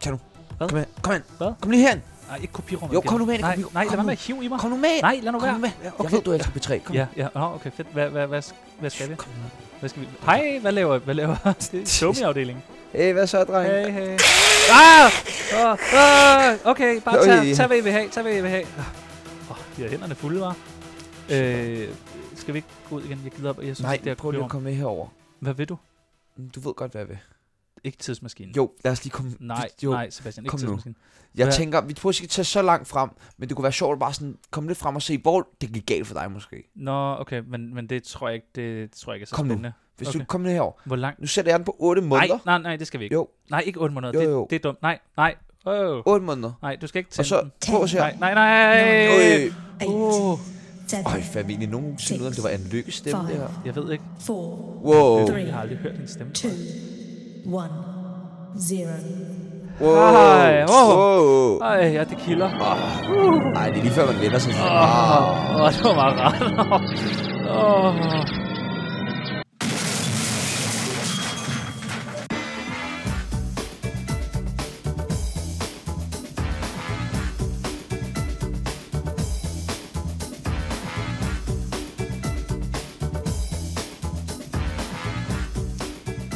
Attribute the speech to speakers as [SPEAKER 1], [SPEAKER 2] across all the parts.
[SPEAKER 1] Tjano.
[SPEAKER 2] Hvad?
[SPEAKER 1] Kom her. Kom her.
[SPEAKER 2] Hvad?
[SPEAKER 1] Kom lige herhen.
[SPEAKER 2] Nej, ikke kopirummet.
[SPEAKER 1] Jo,
[SPEAKER 2] igen.
[SPEAKER 1] kom nu med.
[SPEAKER 2] Nej,
[SPEAKER 1] kom,
[SPEAKER 2] nej, lad
[SPEAKER 1] kom,
[SPEAKER 2] være med at hive i mig.
[SPEAKER 1] Kom nu med.
[SPEAKER 2] Nej, lad nu
[SPEAKER 1] Kom
[SPEAKER 2] være.
[SPEAKER 1] nu med. Jeg ved, du elsker P3. Kom.
[SPEAKER 2] Ja, ja. Nå, okay, fedt. Hvad, hvad, hvad, sk- hvad skal vi?
[SPEAKER 1] Kom nu.
[SPEAKER 2] Hvad skal vi? Hej, hvad laver Hvad laver Dummy-afdelingen.
[SPEAKER 1] Hey, hvad så, dreng?
[SPEAKER 2] Hey, hey. Ah! Oh, oh, okay, bare
[SPEAKER 1] Øj.
[SPEAKER 2] tag, tag hvad I vil have. Tag hvad I vil have. Oh, de her hænderne fulde, var. Øh, skal vi ikke gå ud igen? Jeg gider op. Jeg synes,
[SPEAKER 1] Nej,
[SPEAKER 2] ikke, det er
[SPEAKER 1] prøv lige at
[SPEAKER 2] kopirummet.
[SPEAKER 1] komme med herover. Mm,
[SPEAKER 2] Hvad vil du?
[SPEAKER 1] Du ved godt, hvad jeg vil.
[SPEAKER 2] Ikke tidsmaskinen.
[SPEAKER 1] Jo, lad os lige komme...
[SPEAKER 2] Nej,
[SPEAKER 1] jo.
[SPEAKER 2] nej, Sebastian. Ikke
[SPEAKER 1] Kom nu.
[SPEAKER 2] tidsmaskinen.
[SPEAKER 1] Jeg
[SPEAKER 2] Hvad-
[SPEAKER 1] tænker, vi prøver ikke at tage så langt frem, men det kunne være sjovt at bare sådan komme lidt frem og se, hvor det gik galt for dig måske.
[SPEAKER 2] Nå, okay, men, men det tror jeg ikke, det, tror jeg ikke er så
[SPEAKER 1] Kom nu.
[SPEAKER 2] spændende.
[SPEAKER 1] Hvis
[SPEAKER 2] Okay.
[SPEAKER 1] du kommer ned herover.
[SPEAKER 2] Hvor langt?
[SPEAKER 1] Nu sætter jeg den på 8
[SPEAKER 2] Nej,
[SPEAKER 1] måneder.
[SPEAKER 2] nej, nej, det skal vi ikke.
[SPEAKER 1] Jo,
[SPEAKER 2] Nej, ikke 8 måneder.
[SPEAKER 1] Jo,
[SPEAKER 2] det,
[SPEAKER 1] jo.
[SPEAKER 2] det er dumt. Nej, nej. Oh.
[SPEAKER 1] 8 måneder.
[SPEAKER 2] Nej, du skal ikke
[SPEAKER 1] Og
[SPEAKER 2] tænde
[SPEAKER 1] så
[SPEAKER 2] den.
[SPEAKER 1] prøv at se her.
[SPEAKER 2] Nej, nej, nej.
[SPEAKER 1] Øh,
[SPEAKER 3] Eight,
[SPEAKER 2] Oh,
[SPEAKER 3] seven,
[SPEAKER 1] Øj, for jeg vil egentlig nogen siden ud, om det var en lykkestemme, det
[SPEAKER 3] five,
[SPEAKER 1] her.
[SPEAKER 2] jeg ved ikke.
[SPEAKER 3] four,
[SPEAKER 1] Wow.
[SPEAKER 3] Three.
[SPEAKER 2] Jeg har aldrig hørt din stemme.
[SPEAKER 3] two, one, zero.
[SPEAKER 1] Wow.
[SPEAKER 2] Ej, wow.
[SPEAKER 1] wow.
[SPEAKER 2] Ej, ja, det kilder.
[SPEAKER 1] Ej, det er lige før, man vender sig. sådan.
[SPEAKER 2] Åh, oh, det var meget rart. Åh.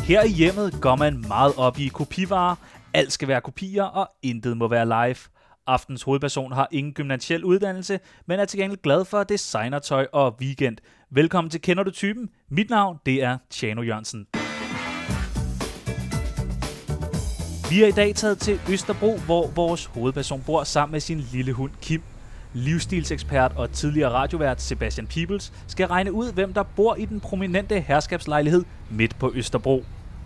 [SPEAKER 2] Her i hjemmet går man meget op i kopivarer. Alt skal være kopier, og intet må være live. Aftens hovedperson har ingen gymnasiel uddannelse, men er til gengæld glad for designertøj og weekend. Velkommen til Kender du typen? Mit navn, det er Tjano Jørgensen. Vi er i dag taget til Østerbro, hvor vores hovedperson bor sammen med sin lille hund Kim. Livsstilsekspert og tidligere radiovært Sebastian Peebles skal regne ud, hvem der bor i den prominente herskabslejlighed midt på Østerbro.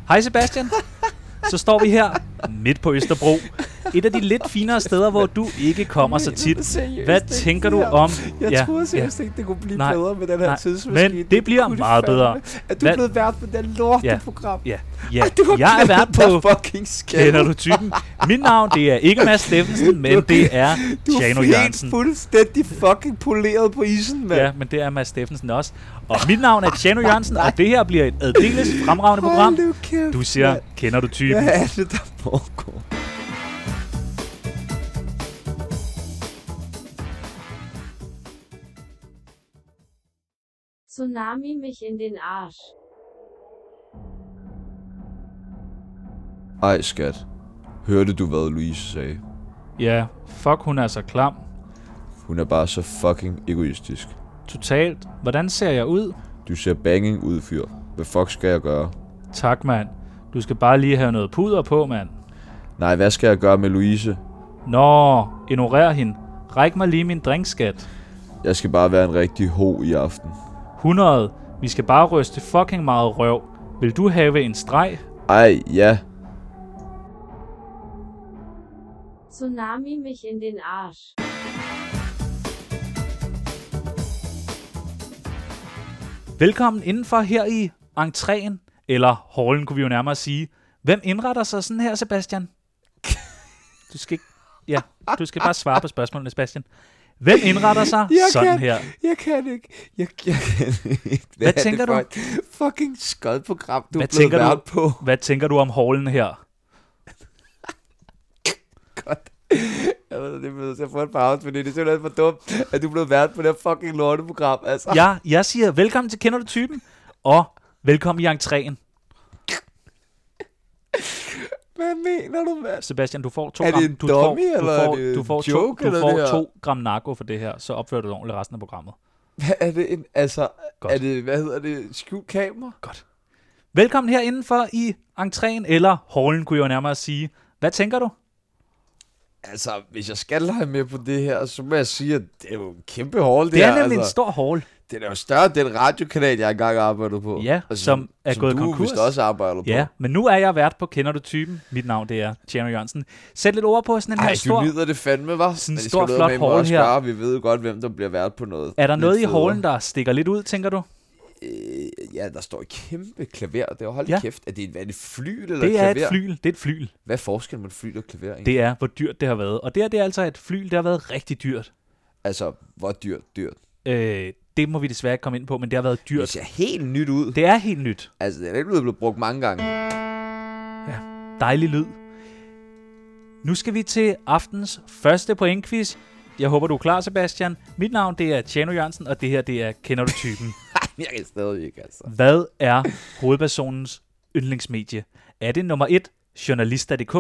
[SPEAKER 2] Hej Sebastian! Så står vi her midt på Østerbro. Et af de lidt finere steder, hvor du ikke kommer så tit. Hvad tænker du om...
[SPEAKER 4] Jeg
[SPEAKER 2] Ja,
[SPEAKER 4] ja, troede seriøst
[SPEAKER 2] ja.
[SPEAKER 4] ikke, det kunne blive
[SPEAKER 2] Nej,
[SPEAKER 4] nej, bedre med den her
[SPEAKER 2] nej,
[SPEAKER 4] tidsmaskine.
[SPEAKER 2] men det bliver
[SPEAKER 4] kunne
[SPEAKER 2] meget
[SPEAKER 4] fandme.
[SPEAKER 2] bedre.
[SPEAKER 4] Er du
[SPEAKER 2] Hvad-
[SPEAKER 4] Hvad? blevet vært på det lorte
[SPEAKER 2] Ja.
[SPEAKER 4] ja. program?
[SPEAKER 2] Ja, ja.
[SPEAKER 4] Du har
[SPEAKER 2] Jeg er vært
[SPEAKER 4] glemt,
[SPEAKER 2] på
[SPEAKER 4] hvad fucking skæld.
[SPEAKER 2] Kender du typen? Mit navn, det er ikke Mads Steffensen, men det er
[SPEAKER 4] Du er
[SPEAKER 2] Tjano
[SPEAKER 4] helt
[SPEAKER 2] Jørgensen.
[SPEAKER 4] fuldstændig fucking poleret på isen, mand.
[SPEAKER 2] Ja, men det er Mads Steffensen også. Og mit navn er Tjano Jørgensen, og det her bliver et addeles fremragende program.
[SPEAKER 4] Hold nu kæft,
[SPEAKER 2] Du siger,
[SPEAKER 4] mand.
[SPEAKER 2] kender du typen?
[SPEAKER 4] Hvad er det, der foregår?
[SPEAKER 5] Tsunami mich in den Arsch.
[SPEAKER 4] Ej, skat. Hørte du, hvad Louise sagde?
[SPEAKER 2] Ja, fuck, hun er så klam.
[SPEAKER 4] Hun er bare så fucking egoistisk.
[SPEAKER 2] Totalt. Hvordan ser jeg ud?
[SPEAKER 4] Du ser banging ud, fyr. Hvad fuck skal jeg gøre?
[SPEAKER 2] Tak, mand. Du skal bare lige have noget puder på, mand.
[SPEAKER 4] Nej, hvad skal jeg gøre med Louise?
[SPEAKER 2] Nå, ignorer hende. Ræk mig lige min drinkskat.
[SPEAKER 4] Jeg skal bare være en rigtig ho i aften.
[SPEAKER 2] 100. Vi skal bare ryste fucking meget røv. Vil du have en streg?
[SPEAKER 4] Ej, ja.
[SPEAKER 5] Tsunami mich in den Arsch.
[SPEAKER 2] Velkommen indenfor her i entréen, eller hallen kunne vi jo nærmere sige. Hvem indretter sig sådan her, Sebastian? Du skal ikke... Ja, du skal bare svare på spørgsmålene, Sebastian. Hvem indretter sig
[SPEAKER 4] Jeg
[SPEAKER 2] sådan
[SPEAKER 4] kan.
[SPEAKER 2] her?
[SPEAKER 4] Jeg kan ikke. Jeg, jeg kan ikke. Hvad,
[SPEAKER 2] Hvad tænker du?
[SPEAKER 4] for et Fucking skodprogram, du
[SPEAKER 2] Hvad
[SPEAKER 4] Hvad er blevet
[SPEAKER 2] tænker du?
[SPEAKER 4] vært på.
[SPEAKER 2] Hvad tænker du om hallen her?
[SPEAKER 4] Godt. Jeg ved, det er nødt til at få en pause, fordi det er simpelthen for dumt, at du er blevet vært på det her fucking lorteprogram. Altså.
[SPEAKER 2] Jeg, jeg siger, velkommen til Kender du typen? Og velkommen i entréen.
[SPEAKER 4] Hvad mener du, mand?
[SPEAKER 2] Sebastian, du får to
[SPEAKER 4] Er det
[SPEAKER 2] gram...
[SPEAKER 4] en
[SPEAKER 2] du får,
[SPEAKER 4] dummy, eller
[SPEAKER 2] du
[SPEAKER 4] er
[SPEAKER 2] får,
[SPEAKER 4] det
[SPEAKER 2] du
[SPEAKER 4] en
[SPEAKER 2] får,
[SPEAKER 4] joke,
[SPEAKER 2] to, du
[SPEAKER 4] eller
[SPEAKER 2] får
[SPEAKER 4] det her?
[SPEAKER 2] to gram narko for det her, så opfører du dig ordentligt resten af programmet.
[SPEAKER 4] Hvad er det en, altså,
[SPEAKER 2] Godt.
[SPEAKER 4] Godt. er det, hvad hedder det, skjult kamera?
[SPEAKER 2] Velkommen her indenfor i entréen, eller hallen kunne jeg jo nærmere sige. Hvad tænker du?
[SPEAKER 4] Altså, hvis jeg skal lege med på det her, så må jeg sige, at det er jo en kæmpe hall, det,
[SPEAKER 2] Det er
[SPEAKER 4] her,
[SPEAKER 2] nemlig en
[SPEAKER 4] altså.
[SPEAKER 2] stor hall.
[SPEAKER 4] Den er jo større end den radiokanal, jeg engang arbejdede på. Altså,
[SPEAKER 2] Ja, som er
[SPEAKER 4] som
[SPEAKER 2] gået
[SPEAKER 4] du
[SPEAKER 2] konkurs.
[SPEAKER 4] vist også arbejder på.
[SPEAKER 2] Ja, men nu er jeg vært på Kender du typen? Mit navn det er Tjerno Jørgensen. Sæt lidt ord på sådan en
[SPEAKER 4] Ej,
[SPEAKER 2] her
[SPEAKER 4] du
[SPEAKER 2] stor...
[SPEAKER 4] nyder det fandme, var.
[SPEAKER 2] Sådan en stor, flot hall her.
[SPEAKER 4] Gøre. Vi ved jo godt, hvem der bliver vært på noget.
[SPEAKER 2] Er der
[SPEAKER 4] lidt
[SPEAKER 2] noget i
[SPEAKER 4] federe.
[SPEAKER 2] hallen, der stikker lidt ud, tænker du?
[SPEAKER 4] Øh, ja, der står et kæmpe klaver. Det er hold
[SPEAKER 2] Ja.
[SPEAKER 4] ja. kæft. Er det, en- hvad er det fly eller
[SPEAKER 2] Det er
[SPEAKER 4] klaver?
[SPEAKER 2] et flyl. Det er et flyl.
[SPEAKER 4] Hvad er forskellen mellem fly og klaver? egentlig?
[SPEAKER 2] Det er, hvor dyrt det har været. Og det her, det er altså et flyl, der har været rigtig dyrt.
[SPEAKER 4] Altså, hvor dyrt, dyrt.
[SPEAKER 2] Øh, det må vi desværre ikke komme ind på, men det har været
[SPEAKER 4] Det
[SPEAKER 2] dyrt.
[SPEAKER 4] ser helt nyt ud. Det...
[SPEAKER 2] Det er helt nyt.
[SPEAKER 4] Altså, den er ikke blevet brugt mange gange.
[SPEAKER 2] Dejlig lyd. Nu skal vi til aftens første pointquiz. Jeg håber, du er klar, Sebastian. Mit navn det er Tjano Jørgensen, og det her det er Kender du typen?
[SPEAKER 6] Jeg kan stadig ikke, altså.
[SPEAKER 2] Hvad er hovedpersonens yndlingsmedie? Er det nummer 1, journalister.dk?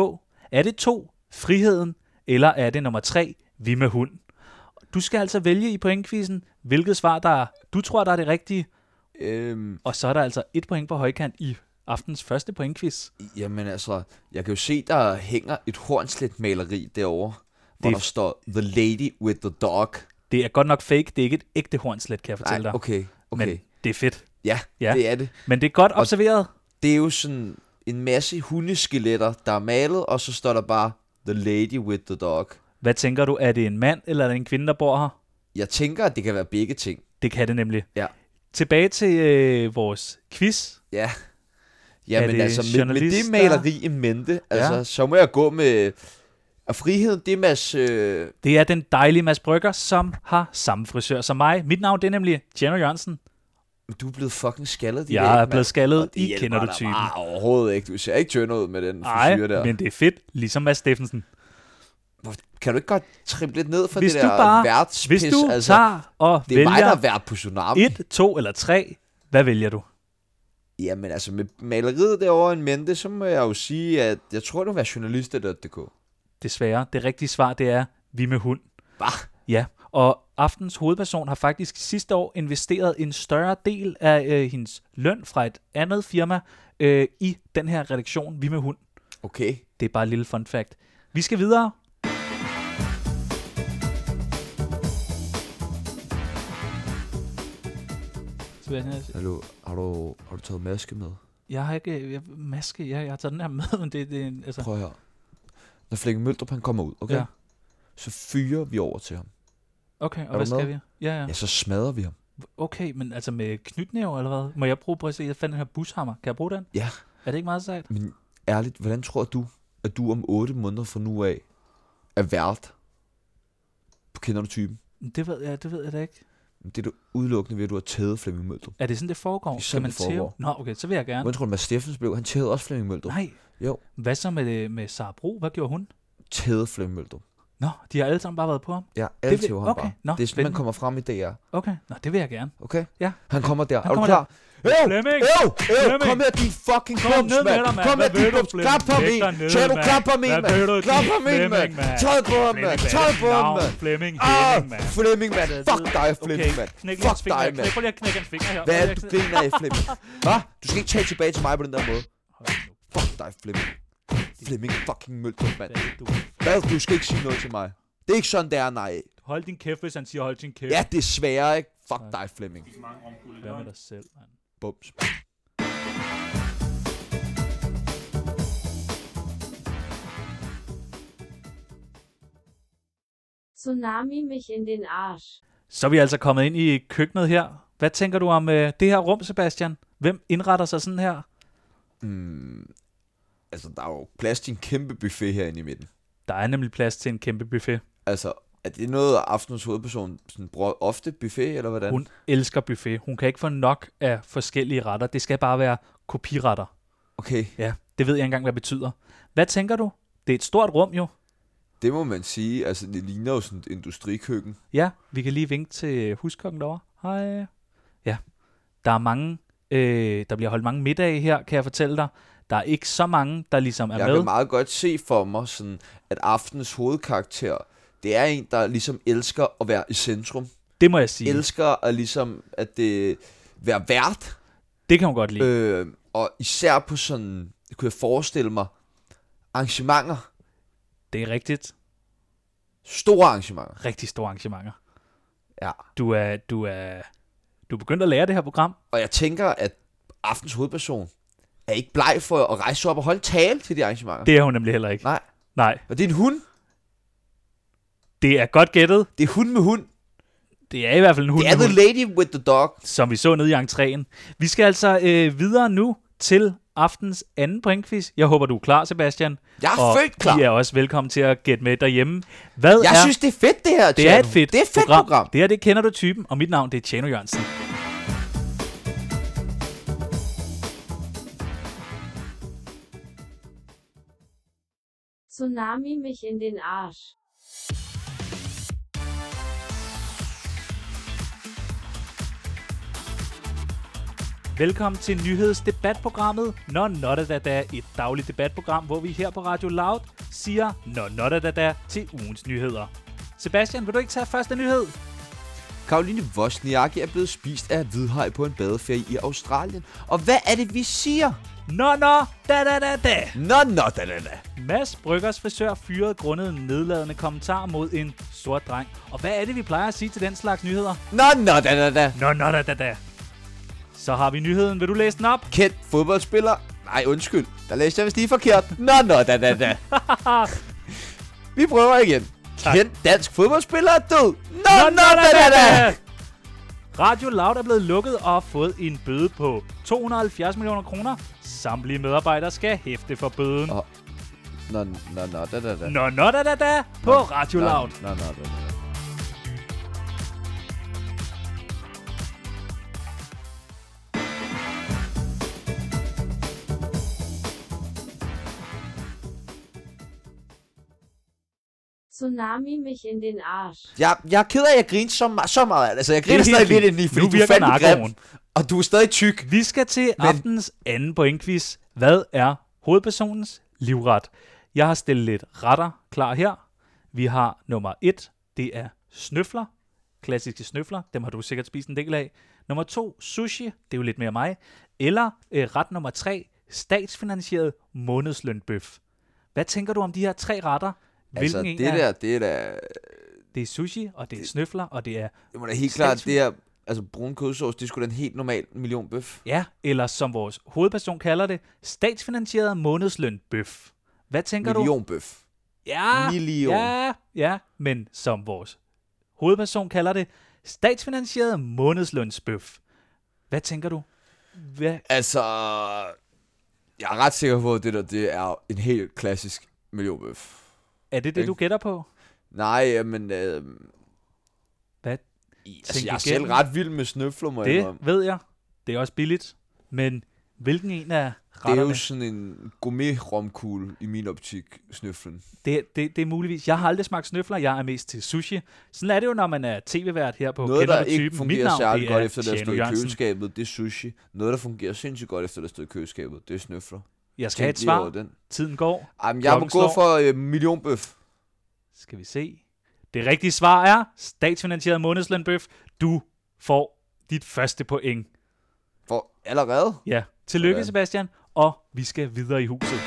[SPEAKER 2] Er det 2, friheden? Eller er det nummer 3, vi med hund? Du skal altså vælge i pointquizzen, hvilket svar, der er, du tror, der er det rigtige.
[SPEAKER 4] Øhm,
[SPEAKER 2] Og så er der altså et point på højkant i aftens første pointquiz.
[SPEAKER 4] jamen altså, jeg kan jo se, der hænger et hornslet maleri derovre, hvor
[SPEAKER 2] Det-
[SPEAKER 4] der står The Lady with the Dog.
[SPEAKER 2] Det er godt nok fake, det er ikke et ægte hornslet, kan jeg fortælle dig.
[SPEAKER 4] okay, okay.
[SPEAKER 2] Men det er fedt.
[SPEAKER 4] ja,
[SPEAKER 2] Ja.
[SPEAKER 4] ja, det er det.
[SPEAKER 2] Men det er godt observeret.
[SPEAKER 4] Det er jo sådan en masse hundeskeletter, der er malet, og så står der bare The Lady with the Dog.
[SPEAKER 2] Hvad tænker du, er det en mand eller er det en kvinde, der bor her?
[SPEAKER 4] Jeg tænker, at det kan være begge ting.
[SPEAKER 2] Det kan det nemlig.
[SPEAKER 4] Ja.
[SPEAKER 2] Tilbage til øh, vores quiz.
[SPEAKER 4] Ja. Jamen
[SPEAKER 2] det
[SPEAKER 4] altså, med, med det
[SPEAKER 2] journalister?
[SPEAKER 4] maleri i mente, altså,
[SPEAKER 2] Ja.
[SPEAKER 4] så må jeg gå med... Og friheden, det er Mads... Øh,
[SPEAKER 2] Det er den dejlige Mads Brygger, som har samme frisør som mig. Mit navn det er nemlig Tjerno Jørgensen.
[SPEAKER 4] du er blevet fucking skaldet. din
[SPEAKER 2] Jeg er
[SPEAKER 4] mand.
[SPEAKER 2] blevet skaldet.
[SPEAKER 4] Og det
[SPEAKER 2] I
[SPEAKER 4] hjælper
[SPEAKER 2] kender du
[SPEAKER 4] dig
[SPEAKER 2] typen.
[SPEAKER 4] bare overhovedet ikke. Du ser ikke tynd ud med den
[SPEAKER 2] Nej,
[SPEAKER 4] frisyr der.
[SPEAKER 2] men det er fedt, ligesom Mads Steffensen.
[SPEAKER 4] Kan du ikke godt trippe lidt ned for
[SPEAKER 2] Hvis
[SPEAKER 4] det
[SPEAKER 2] du
[SPEAKER 4] der
[SPEAKER 2] bare-
[SPEAKER 4] værtspis?
[SPEAKER 2] Hvis du
[SPEAKER 4] altså,
[SPEAKER 2] tager og
[SPEAKER 4] det er mig, der
[SPEAKER 2] vælger
[SPEAKER 4] er vært på Tsunami.
[SPEAKER 2] et, to eller tre, hvad vælger du?
[SPEAKER 4] Jamen altså, med maleriet derovre en mente, så må jeg jo sige, at jeg tror, det var journalister.dk.
[SPEAKER 2] Desværre, det rigtige svar det er, vi med hund.
[SPEAKER 4] Bah.
[SPEAKER 2] Ja, og aftens hovedperson har faktisk sidste år investeret en større del af øh, hendes løn fra et andet firma øh, i den her redaktion, vi med hund.
[SPEAKER 4] Okay.
[SPEAKER 2] Det er bare et lille fun fact. Vi skal videre.
[SPEAKER 4] Hallo, har du, har du taget maske med?
[SPEAKER 2] Jeg har ikke jeg, maske. Jeg, jeg har taget den her med, men det, det er en- altså...
[SPEAKER 4] Prøv her. Når Flemming Møldrup han kommer ud, okay?
[SPEAKER 2] Ja.
[SPEAKER 4] Ja. Så fyrer vi over til ham.
[SPEAKER 2] Okay, og
[SPEAKER 4] du
[SPEAKER 2] hvad skal
[SPEAKER 4] med?
[SPEAKER 2] vi? Ja, ja.
[SPEAKER 4] Ja, så smadrer vi ham.
[SPEAKER 2] Okay, men altså med knytnæver eller hvad? Må jeg bruge, prøv at se, jeg fandt den her bushammer. Kan jeg bruge den?
[SPEAKER 4] Ja.
[SPEAKER 2] Er det ikke meget sejt?
[SPEAKER 4] Men ærligt, hvordan tror du, at du om 8 måneder fra nu af er vært? Kender du typen?
[SPEAKER 2] Det ved jeg, det ved jeg da ikke.
[SPEAKER 4] Det er du udelukkende ved, at du har taget Flemming Møldrup.
[SPEAKER 2] Er det sådan, det foregår?
[SPEAKER 4] Det er
[SPEAKER 2] Skal
[SPEAKER 4] sådan,
[SPEAKER 2] man
[SPEAKER 4] det foregår.
[SPEAKER 2] tæve? Nå, okay, så vil jeg gerne.
[SPEAKER 4] Hvordan tror du, Mads Steffens blev? Han tævede også Flemming Møldrup.
[SPEAKER 2] Nej.
[SPEAKER 4] Jo.
[SPEAKER 2] Hvad så med, øh, med Sara Bro? Hvad gjorde hun?
[SPEAKER 4] Tævede Flemming Møldrup.
[SPEAKER 2] Nå, de har alle sammen bare været på ham.
[SPEAKER 4] Ja, alle det
[SPEAKER 2] vil-
[SPEAKER 4] ham
[SPEAKER 2] okay,
[SPEAKER 4] bare. det er
[SPEAKER 2] nå,
[SPEAKER 4] sådan, man
[SPEAKER 2] spændende.
[SPEAKER 4] kommer frem i DR.
[SPEAKER 2] Okay, nå, det vil jeg gerne.
[SPEAKER 4] Okay?
[SPEAKER 2] Ja.
[SPEAKER 4] Han kommer der. Han er du
[SPEAKER 2] kommer
[SPEAKER 4] klar? Øv!
[SPEAKER 2] Flemming!
[SPEAKER 4] Øv! Øv!
[SPEAKER 2] Flemming!
[SPEAKER 4] Kom her, din fucking
[SPEAKER 2] Kom
[SPEAKER 4] klums,
[SPEAKER 2] ned med
[SPEAKER 4] mand!
[SPEAKER 2] dig, mand.
[SPEAKER 4] Kom her,
[SPEAKER 2] Hvad
[SPEAKER 4] din
[SPEAKER 2] vil du,
[SPEAKER 4] klums!
[SPEAKER 2] Flemming?
[SPEAKER 4] Klap på
[SPEAKER 2] Læg
[SPEAKER 4] min!
[SPEAKER 2] dig ned,
[SPEAKER 4] Tjano,
[SPEAKER 2] mand.
[SPEAKER 4] klap på min,
[SPEAKER 2] Hvad
[SPEAKER 4] mand!
[SPEAKER 2] vil du,
[SPEAKER 4] Klap
[SPEAKER 2] din
[SPEAKER 4] på min, mand!
[SPEAKER 2] Flemming, mand?
[SPEAKER 4] Tøj på ham,
[SPEAKER 2] Flemming,
[SPEAKER 4] mand!
[SPEAKER 2] hvad er
[SPEAKER 4] Tøj
[SPEAKER 2] det
[SPEAKER 4] på
[SPEAKER 2] for et
[SPEAKER 4] ham,
[SPEAKER 2] navn?
[SPEAKER 4] mand!
[SPEAKER 2] Flemming,
[SPEAKER 4] Ah,
[SPEAKER 2] Flemming, mand.
[SPEAKER 4] Flemming, mand! Fuck dig, Flemming, mand!
[SPEAKER 2] knæk lige
[SPEAKER 4] Fuck
[SPEAKER 2] hans
[SPEAKER 4] dig,
[SPEAKER 2] finger.
[SPEAKER 4] mand!
[SPEAKER 2] Knæk, prøv lige at knække en finger her.
[SPEAKER 4] Hvad er
[SPEAKER 2] Prøv
[SPEAKER 4] det, du
[SPEAKER 2] lige at-
[SPEAKER 4] griner af, Flemming? Hva? Du skal ikke tage tilbage til mig på den der måde. Fuck dig, Flemming. Flemming fucking Møldrup, mand.
[SPEAKER 2] Hvad er det, du-
[SPEAKER 4] Hvad? Du skal ikke sige noget til mig. Det er ikke sådan, det er, nej.
[SPEAKER 2] Hold din kæft, hvis han siger, hold din kæft.
[SPEAKER 4] Ja, det er sværere, ikke? Fuck dig, Flemming.
[SPEAKER 2] Hvad med dig selv, mand?
[SPEAKER 4] Bums.
[SPEAKER 5] Tsunami mich in den Arsch.
[SPEAKER 2] Så er vi altså kommet ind i køkkenet her. Hvad tænker du om øh, det her rum, Sebastian? Hvem indretter sig sådan her?
[SPEAKER 4] Altså, der er jo plads til en kæmpe buffet herinde i midten.
[SPEAKER 2] Der er nemlig plads til en kæmpe buffet.
[SPEAKER 4] Altså, er det noget, aftenens hovedperson sådan, bruger ofte buffet, eller hvordan?
[SPEAKER 2] Hun elsker buffet. Hun kan ikke få nok af forskellige retter. Det skal bare være kopiretter.
[SPEAKER 4] Okay,
[SPEAKER 2] Ja, det ved jeg ikke engang, hvad det betyder. Hvad tænker du? Det er et stort rum jo.
[SPEAKER 4] det må man sige. Altså, det ligner jo sådan et industrikøkken.
[SPEAKER 2] Ja, vi kan lige vinke til huskokken derovre. Hej. Ja, der er mange, øh, der bliver holdt mange middage her, kan jeg fortælle dig. Der er ikke så mange, der ligesom er
[SPEAKER 4] Jeg
[SPEAKER 2] med.
[SPEAKER 4] kan meget godt se for mig, sådan, at aftenens hovedkarakter, det er en, der ligesom elsker at være i centrum.
[SPEAKER 2] Det må jeg sige.
[SPEAKER 4] Elsker at ligesom, at det være vært.
[SPEAKER 2] Det kan hun godt lide.
[SPEAKER 4] Øh, og især på sådan, kunne jeg forestille mig, arrangementer.
[SPEAKER 2] Det er rigtigt.
[SPEAKER 4] Store arrangementer.
[SPEAKER 2] Rigtig store arrangementer.
[SPEAKER 4] Ja.
[SPEAKER 2] Du er, du er, du er begyndt at lære det her program.
[SPEAKER 4] Og jeg tænker, at aftens hovedperson er ikke bleg for at rejse sig op og holde tale til de arrangementer. Det...
[SPEAKER 2] Det er hun nemlig heller ikke.
[SPEAKER 4] Nej.
[SPEAKER 2] Nej.
[SPEAKER 4] Og det er en hund.
[SPEAKER 2] Det er godt gættet.
[SPEAKER 4] Det er hund med hund.
[SPEAKER 2] Det er i hvert fald en hund,
[SPEAKER 4] Det er
[SPEAKER 2] med
[SPEAKER 4] the
[SPEAKER 2] hund,
[SPEAKER 4] lady with the dog.
[SPEAKER 2] som vi så nede i entréen. Vi skal altså øh, videre nu til aftens anden pointquiz. Jeg håber, du er klar, Sebastian.
[SPEAKER 4] Jeg er
[SPEAKER 2] og
[SPEAKER 4] født klar.
[SPEAKER 2] I er også velkommen til at gætte med derhjemme. Hvad
[SPEAKER 4] Jeg
[SPEAKER 2] er,
[SPEAKER 4] synes, det er fedt, det her.
[SPEAKER 2] det
[SPEAKER 4] Tjerno.
[SPEAKER 2] er et fedt,
[SPEAKER 4] Det er et fedt program. program.
[SPEAKER 2] Det her, det kender du typen, og mit navn, det er Tjano Jørgensen.
[SPEAKER 5] Tsunami Tsunami mich in den Arsch.
[SPEAKER 2] Velkommen til nyhedsdebatprogrammet Nå Notta Da Da, et dagligt debatprogram, hvor vi her på Radio Loud siger Nå Notta Da Da til ugens nyheder. Sebastian, vil du ikke tage første nyhed?
[SPEAKER 4] Karoline Wozniacki er blevet spist af et hvidhaj på en badeferie i Australien. Og hvad er det, vi siger?
[SPEAKER 2] Nå Nå Da Da Da Da!
[SPEAKER 4] Nå, nå, da, da, da.
[SPEAKER 2] Mads Bryggers frisør fyrede grundet en nedladende kommentar mod en sort dreng. Og hvad er det, vi plejer at sige til den slags nyheder?
[SPEAKER 4] Nå, nå, da, da, da.
[SPEAKER 2] Nå Nå Da Da Da! Så har vi nyheden. Vil du læse den op?
[SPEAKER 4] Kendt fodboldspiller? Nej, undskyld. Der læste jeg vist lige forkert. Nå, nå, da, da, da. Vi prøver igen.
[SPEAKER 2] Tak.
[SPEAKER 4] Kendt dansk fodboldspiller er død. Nå, nå, da, da, da.
[SPEAKER 2] Radio Loud er blevet lukket og har fået en bøde på 270 millioner kroner. Samtlige medarbejdere skal hæfte for bøden.
[SPEAKER 4] Åh, Nå, nå, nå, da, da, da.
[SPEAKER 2] Nå, nå, da, da, da, på Radio
[SPEAKER 4] Nå,
[SPEAKER 2] Loud.
[SPEAKER 4] Nå, nå, da, da, da.
[SPEAKER 5] Tsunami mich in den Arsch.
[SPEAKER 4] Jeg, jeg er ked af, at jeg griner så, meget, så meget. af det. Altså, jeg griner
[SPEAKER 2] Det er
[SPEAKER 4] stadig
[SPEAKER 2] helt
[SPEAKER 4] lidt indeni,
[SPEAKER 2] fint.
[SPEAKER 4] fordi
[SPEAKER 2] Nu
[SPEAKER 4] du er
[SPEAKER 2] virker
[SPEAKER 4] fandme grim.
[SPEAKER 2] narkoen.
[SPEAKER 4] Og du er stadig tyk.
[SPEAKER 2] Vi skal til
[SPEAKER 4] Men-
[SPEAKER 2] aftenens anden pointquiz. Hvad er hovedpersonens livret? Jeg har stillet lidt retter klar her. Vi har nummer 1, det er snøfler. Klassiske snøfler, dem har du sikkert spist en del af. Nummer 2, sushi, det er jo lidt mere mig. Eller øh, ret nummer 3, statsfinansieret månedslønbøf. Hvad tænker du om de her tre retter? Hvilken
[SPEAKER 4] altså,
[SPEAKER 2] en
[SPEAKER 4] det
[SPEAKER 2] er?
[SPEAKER 4] der, det er da...
[SPEAKER 2] Det er sushi, og det er snøfler, og det er,
[SPEAKER 4] Det må da helt klart,
[SPEAKER 2] Statsfin-
[SPEAKER 4] det her... Altså, brun kødsovs, det er sgu da en helt normal million bøf.
[SPEAKER 2] ja, eller som vores hovedperson kalder det, statsfinansieret månedslønbøf. Hvad tænker du?
[SPEAKER 4] Million bøf.
[SPEAKER 2] Ja,
[SPEAKER 4] Million.
[SPEAKER 2] ja, ja, men som vores hovedperson kalder det, statsfinansieret månedslønsbøf. Hvad tænker du? Hvad?
[SPEAKER 4] Altså, jeg er ret sikker på, at det der, det er en helt klassisk millionbøf.
[SPEAKER 2] Er det det, du gætter på?
[SPEAKER 4] Nej, øh, men øh,
[SPEAKER 2] Hvad?
[SPEAKER 4] altså, jeg er
[SPEAKER 2] igen.
[SPEAKER 4] selv ret vild med snøfler, må jeg
[SPEAKER 2] Det
[SPEAKER 4] indrømme.
[SPEAKER 2] ved jeg. Det er også billigt. Men hvilken en af
[SPEAKER 4] det er
[SPEAKER 2] retterne?
[SPEAKER 4] jo sådan en gourmet-romkugle i min optik, snøflen.
[SPEAKER 2] Det, det, det er muligvis. Jeg har aldrig smagt snøfler. Jeg er mest til sushi. Sådan er det jo, når man er tv-vært her på
[SPEAKER 4] Noget,
[SPEAKER 2] Kender
[SPEAKER 4] der
[SPEAKER 2] du
[SPEAKER 4] ikke
[SPEAKER 2] typen?
[SPEAKER 4] fungerer
[SPEAKER 2] Mit navn,
[SPEAKER 4] særlig
[SPEAKER 2] det er
[SPEAKER 4] godt efter, der
[SPEAKER 2] Tjano
[SPEAKER 4] stod i
[SPEAKER 2] Jørgensen.
[SPEAKER 4] køleskabet, det er sushi. Noget, der fungerer sindssygt godt efter, der stod i køleskabet, det er snøfler.
[SPEAKER 2] Jeg skal have et
[SPEAKER 4] lige over
[SPEAKER 2] svar.
[SPEAKER 4] Den.
[SPEAKER 2] Tiden går.
[SPEAKER 4] Jamen, jeg må
[SPEAKER 2] Klokken
[SPEAKER 4] gå
[SPEAKER 2] slår.
[SPEAKER 4] for øh, millionbøf.
[SPEAKER 2] Skal vi se. Det rigtige svar er statsfinansieret månedslønbøf. Du får dit første point.
[SPEAKER 4] For allerede?
[SPEAKER 2] Ja, tillykke
[SPEAKER 4] Sådan.
[SPEAKER 2] Sebastian, og vi skal videre i huset.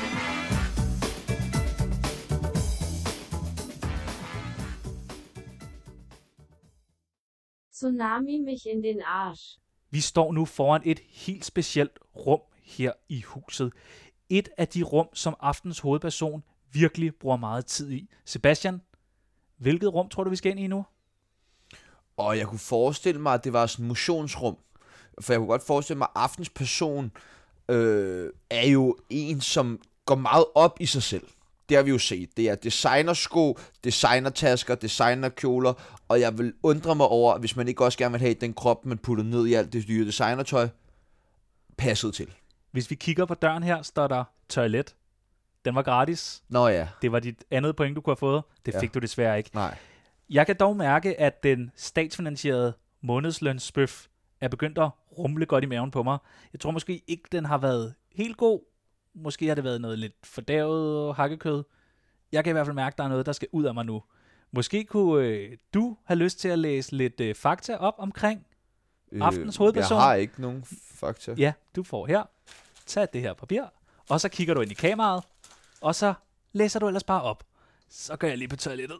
[SPEAKER 5] Tsunami mich in den Arsch.
[SPEAKER 2] Vi står nu foran et helt specielt rum her i huset. Et af de rum, som aftens hovedperson virkelig bruger meget tid i. Sebastian, hvilket rum tror du, vi skal ind i nu?
[SPEAKER 4] Og jeg kunne forestille mig, at det var sådan et motionsrum. For jeg kunne godt forestille mig, at aftens person øh, er jo en, som går meget op i sig selv. Det har vi jo set. Det er designersko, designertasker, designerkjoler, og jeg vil undre mig over, hvis man ikke også gerne vil have den krop, man putter ned i alt det dyre designertøj, passet til.
[SPEAKER 2] Hvis vi kigger på døren her, står der toilet. Den var gratis.
[SPEAKER 4] Nå ja,
[SPEAKER 2] Det var dit andet point, du kunne have fået. Det
[SPEAKER 4] Ja.
[SPEAKER 2] fik ja. du desværre ikke.
[SPEAKER 4] nej.
[SPEAKER 2] Jeg kan dog mærke, at den statsfinansierede månedslønsbøf er begyndt at rumle godt i maven på mig. Jeg tror måske ikke, den har været helt god. Måske har det været noget lidt fordavet hakkekød. Jeg kan i hvert fald mærke, at der er noget, der skal ud af mig nu. Måske kunne øh, du have lyst til at læse lidt øh, fakta op omkring. Aftens hovedperson.
[SPEAKER 4] Øh, Jeg har ikke nogen fakta.
[SPEAKER 2] Ja, du får her. Tag det her papir, og så kigger du ind i kameraet, og så læser du ellers bare op. Så går jeg lige på toilettet.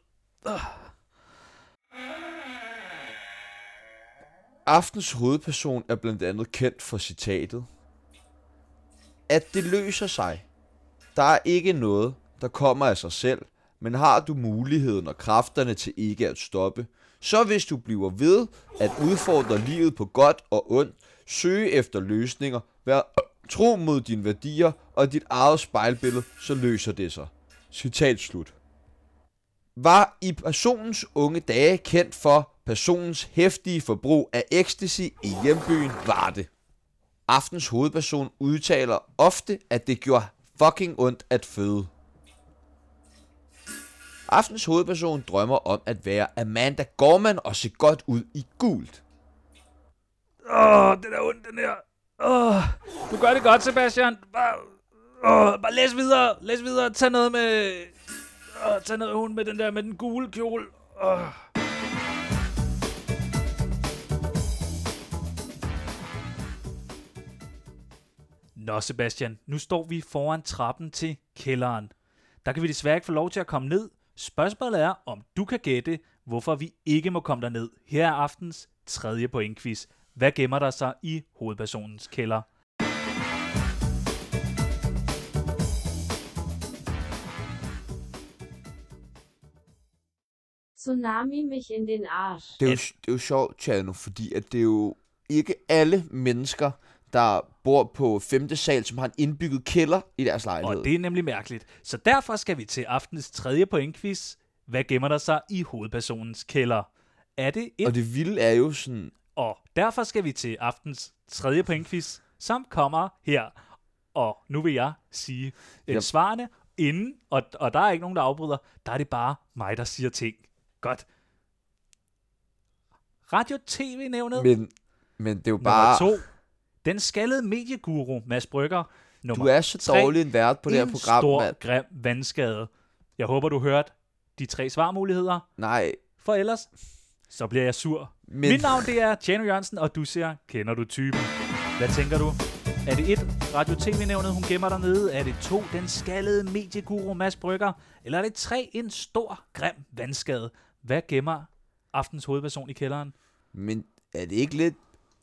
[SPEAKER 4] Aftens hovedperson er blandt andet kendt for citatet, at det løser sig. Der er ikke noget, der kommer af sig selv, men har du muligheden og kræfterne til ikke at stoppe, så hvis du bliver ved at udfordre livet på godt og ondt, søge efter løsninger, vær tro mod dine værdier og dit eget spejlbillede, så løser det sig. Citat slut var i personens unge dage kendt for personens hæftige forbrug af ecstasy i hjembyen Varde. Aftens hovedperson udtaler ofte, at det gjorde fucking ondt at føde. Aftens hovedperson drømmer om at være Amanda Gorman og se godt ud i gult.
[SPEAKER 2] Åh, oh, den er ond, den her. Åh, du gør det godt, Sebastian. Bare, åh, bare læs videre. Læs videre. Tag noget med... Åh, tag noget hun med den der med den gule kjole. Åh. Nå, Sebastian, nu står vi foran trappen til kælderen. Der kan vi desværre ikke få lov til at komme ned. Spørgsmålet er, om du kan gætte, hvorfor vi ikke må komme derned. Her er aftens tredje pointquiz. Hvad gemmer der sig i hovedpersonens kælder?
[SPEAKER 5] Tsunami mich in den Arsch.
[SPEAKER 4] Det er, jo, det er jo sjovt, Tjerno, fordi at det er jo ikke alle mennesker, der bor på 5. sal, som har en indbygget kælder i deres lejlighed.
[SPEAKER 2] Og det er nemlig mærkeligt. Så derfor skal vi til aftens tredje pointquiz. Hvad gemmer der sig i hovedpersonens kælder? Er det et
[SPEAKER 4] og det vilde er jo sådan,
[SPEAKER 2] Og derfor skal vi til aftens tredje pointquiz, som kommer her. Og nu vil jeg sige øh,
[SPEAKER 4] Yep.
[SPEAKER 2] svarene inden, og, og der er ikke nogen, der afbryder. Der er det bare mig, der siger ting. Godt. Radio-TV-nævnet
[SPEAKER 4] men, men det er jo
[SPEAKER 2] nummer
[SPEAKER 4] bare,
[SPEAKER 2] to. Den skaldede medieguru, Mads Brygger. Nummer
[SPEAKER 4] du er så
[SPEAKER 2] tre.
[SPEAKER 4] dårlig en vært på det her
[SPEAKER 2] en
[SPEAKER 4] program,
[SPEAKER 2] stor,
[SPEAKER 4] mand.
[SPEAKER 2] grim vandskade. Jeg håber, du hørte de tre svarmuligheder,
[SPEAKER 4] Nej,
[SPEAKER 2] for ellers så bliver jeg sur.
[SPEAKER 4] Men-
[SPEAKER 2] Mit navn det er Tjerno Jørgensen, og du siger, kender du typen? Hvad tænker du? Er det et Radio-TV-nævnet, hun gemmer dernede? Er det to, den skaldede medieguru Mads Brygger? Eller er det tre, en stor, grim vandskade? Hvad gemmer aftens hovedperson i kælderen?
[SPEAKER 4] men er det ikke lidt,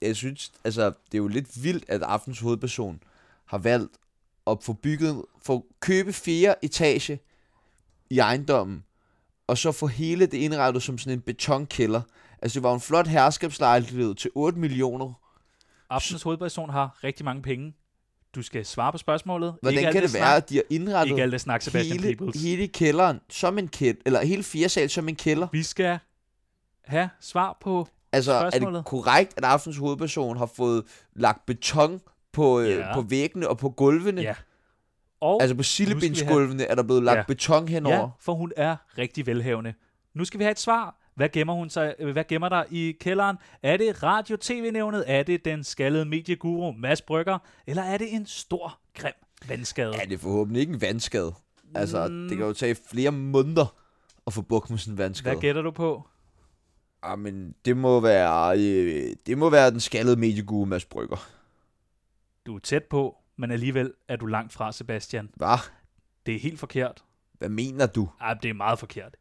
[SPEAKER 4] jeg synes, altså, det er jo lidt vildt, at aftens hovedperson har valgt at få bygget, få købe fire etage i ejendommen, og så få hele det indrettet som sådan en betonkælder. Altså, det var jo en flot herskabslejlighed til 8 millioner
[SPEAKER 2] Aftens hovedperson har rigtig mange penge. Du skal svare på spørgsmålet. Ikke
[SPEAKER 4] Hvordan
[SPEAKER 2] alt
[SPEAKER 4] kan det
[SPEAKER 2] snak.
[SPEAKER 4] være, at de har indrettet
[SPEAKER 2] Ikke alt det snak, Sebastian
[SPEAKER 4] hele,
[SPEAKER 2] Peebles.
[SPEAKER 4] hele kælderen som en kælder, eller hele firesal som en kælder?
[SPEAKER 2] Vi skal have svar på...
[SPEAKER 4] Altså, er
[SPEAKER 2] Spørgsmålet.
[SPEAKER 4] det korrekt, at aftens hovedperson har fået lagt beton på, øh,
[SPEAKER 2] Ja.
[SPEAKER 4] på væggene og på gulvene?
[SPEAKER 2] Ja. Og
[SPEAKER 4] Altså på sillebindsgulvene er der blevet lagt
[SPEAKER 2] Ja.
[SPEAKER 4] beton
[SPEAKER 2] ja,
[SPEAKER 4] henover.
[SPEAKER 2] for hun er rigtig velhavende. Nu skal vi have et svar. Hvad gemmer, hun sig, øh, hvad gemmer der i kælderen? Er det radio-tv-nævnet? Er det den skaldede medieguru Mads Brygger? Eller er det en stor, grim vandskade?
[SPEAKER 4] Ja. ja, det er forhåbentlig ikke en vandskade. Altså,
[SPEAKER 2] Mm.
[SPEAKER 4] det kan jo tage flere måneder at få bukt med sådan en vandskade.
[SPEAKER 2] Hvad gætter du på?
[SPEAKER 4] Ah, men det må være, øh, det må være den skaldede mediegude Mads Brygger.
[SPEAKER 2] Du er tæt på, men alligevel er du langt fra, Sebastian.
[SPEAKER 4] Hva?
[SPEAKER 2] Det er helt forkert.
[SPEAKER 4] Hvad mener du?
[SPEAKER 2] Ej, det er meget forkert.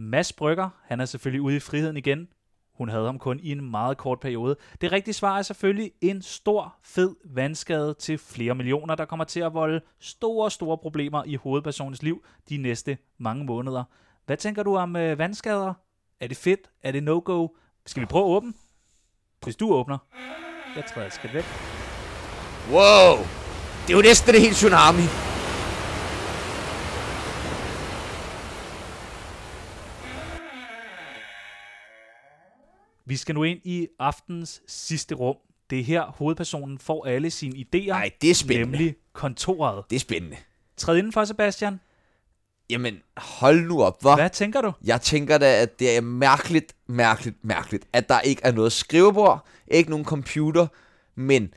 [SPEAKER 2] Mads Brygger, han er selvfølgelig ude i friheden igen. Hun havde ham kun i en meget kort periode. Det rigtige svar er selvfølgelig en stor, fed vandskade til flere millioner, der kommer til at volde store, store problemer i hovedpersonens liv de næste mange måneder. Hvad tænker du om øh, vandskader? Er det fedt? Er det no-go? Skal vi prøve at åbne? Hvis du åbner. Jeg træder et skridt væk.
[SPEAKER 4] Wow! Det er jo næsten en helt tsunami.
[SPEAKER 2] Vi skal nu ind i aftens sidste rum. Det er her, hovedpersonen får alle sine idéer.
[SPEAKER 4] Nej, det er spændende.
[SPEAKER 2] Nemlig kontoret.
[SPEAKER 4] Det er spændende.
[SPEAKER 2] Træd indenfor, Sebastian.
[SPEAKER 4] Jamen, hold nu op, hva'?
[SPEAKER 2] Hvad tænker du?
[SPEAKER 4] Jeg tænker da, at det er mærkeligt, mærkeligt, mærkeligt, at der ikke er noget skrivebord, ikke nogen computer, men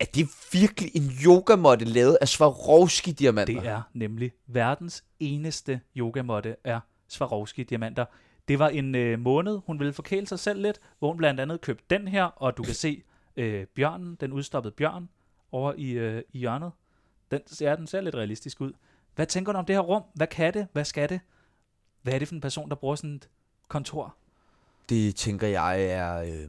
[SPEAKER 4] er det virkelig en yogamåtte lavet af Swarovski-diamanter?
[SPEAKER 2] Det er nemlig verdens eneste yogamotte er Swarovski-diamanter. Det var en øh, måned, hun ville forkæle sig selv lidt, hvor hun blandt andet købte den her, og du kan se øh, bjørnen, den udstoppede bjørn, over i, øh, i hjørnet. Den, ja, den ser lidt realistisk ud. Hvad tænker du om det her rum? Hvad kan det? Hvad skal det? Hvad er det for en person, der bruger sådan et kontor?
[SPEAKER 4] Det tænker jeg er... Øh...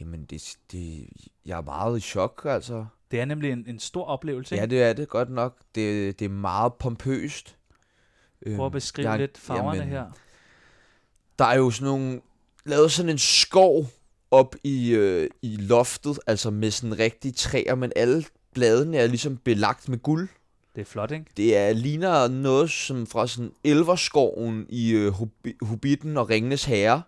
[SPEAKER 4] Jamen, det, det, jeg er meget i chok, altså.
[SPEAKER 2] Det er nemlig en, en stor oplevelse.
[SPEAKER 4] Ja,
[SPEAKER 2] ikke?
[SPEAKER 4] det er det godt nok. Det, det er meget pompøst. Øhm,
[SPEAKER 2] Prøv at beskrive
[SPEAKER 4] jeg-
[SPEAKER 2] lidt farverne
[SPEAKER 4] jamen,
[SPEAKER 2] her.
[SPEAKER 4] Der er jo sådan nogle, lavet sådan en skov op i, øh, i loftet, altså med sådan rigtige træer, men alle bladene er ligesom belagt med guld.
[SPEAKER 2] Det er flot, ikke?
[SPEAKER 4] Det er, ligner noget som fra sådan Elverskoven i øh, Hobi- Hobbiten og Ringenes Herre.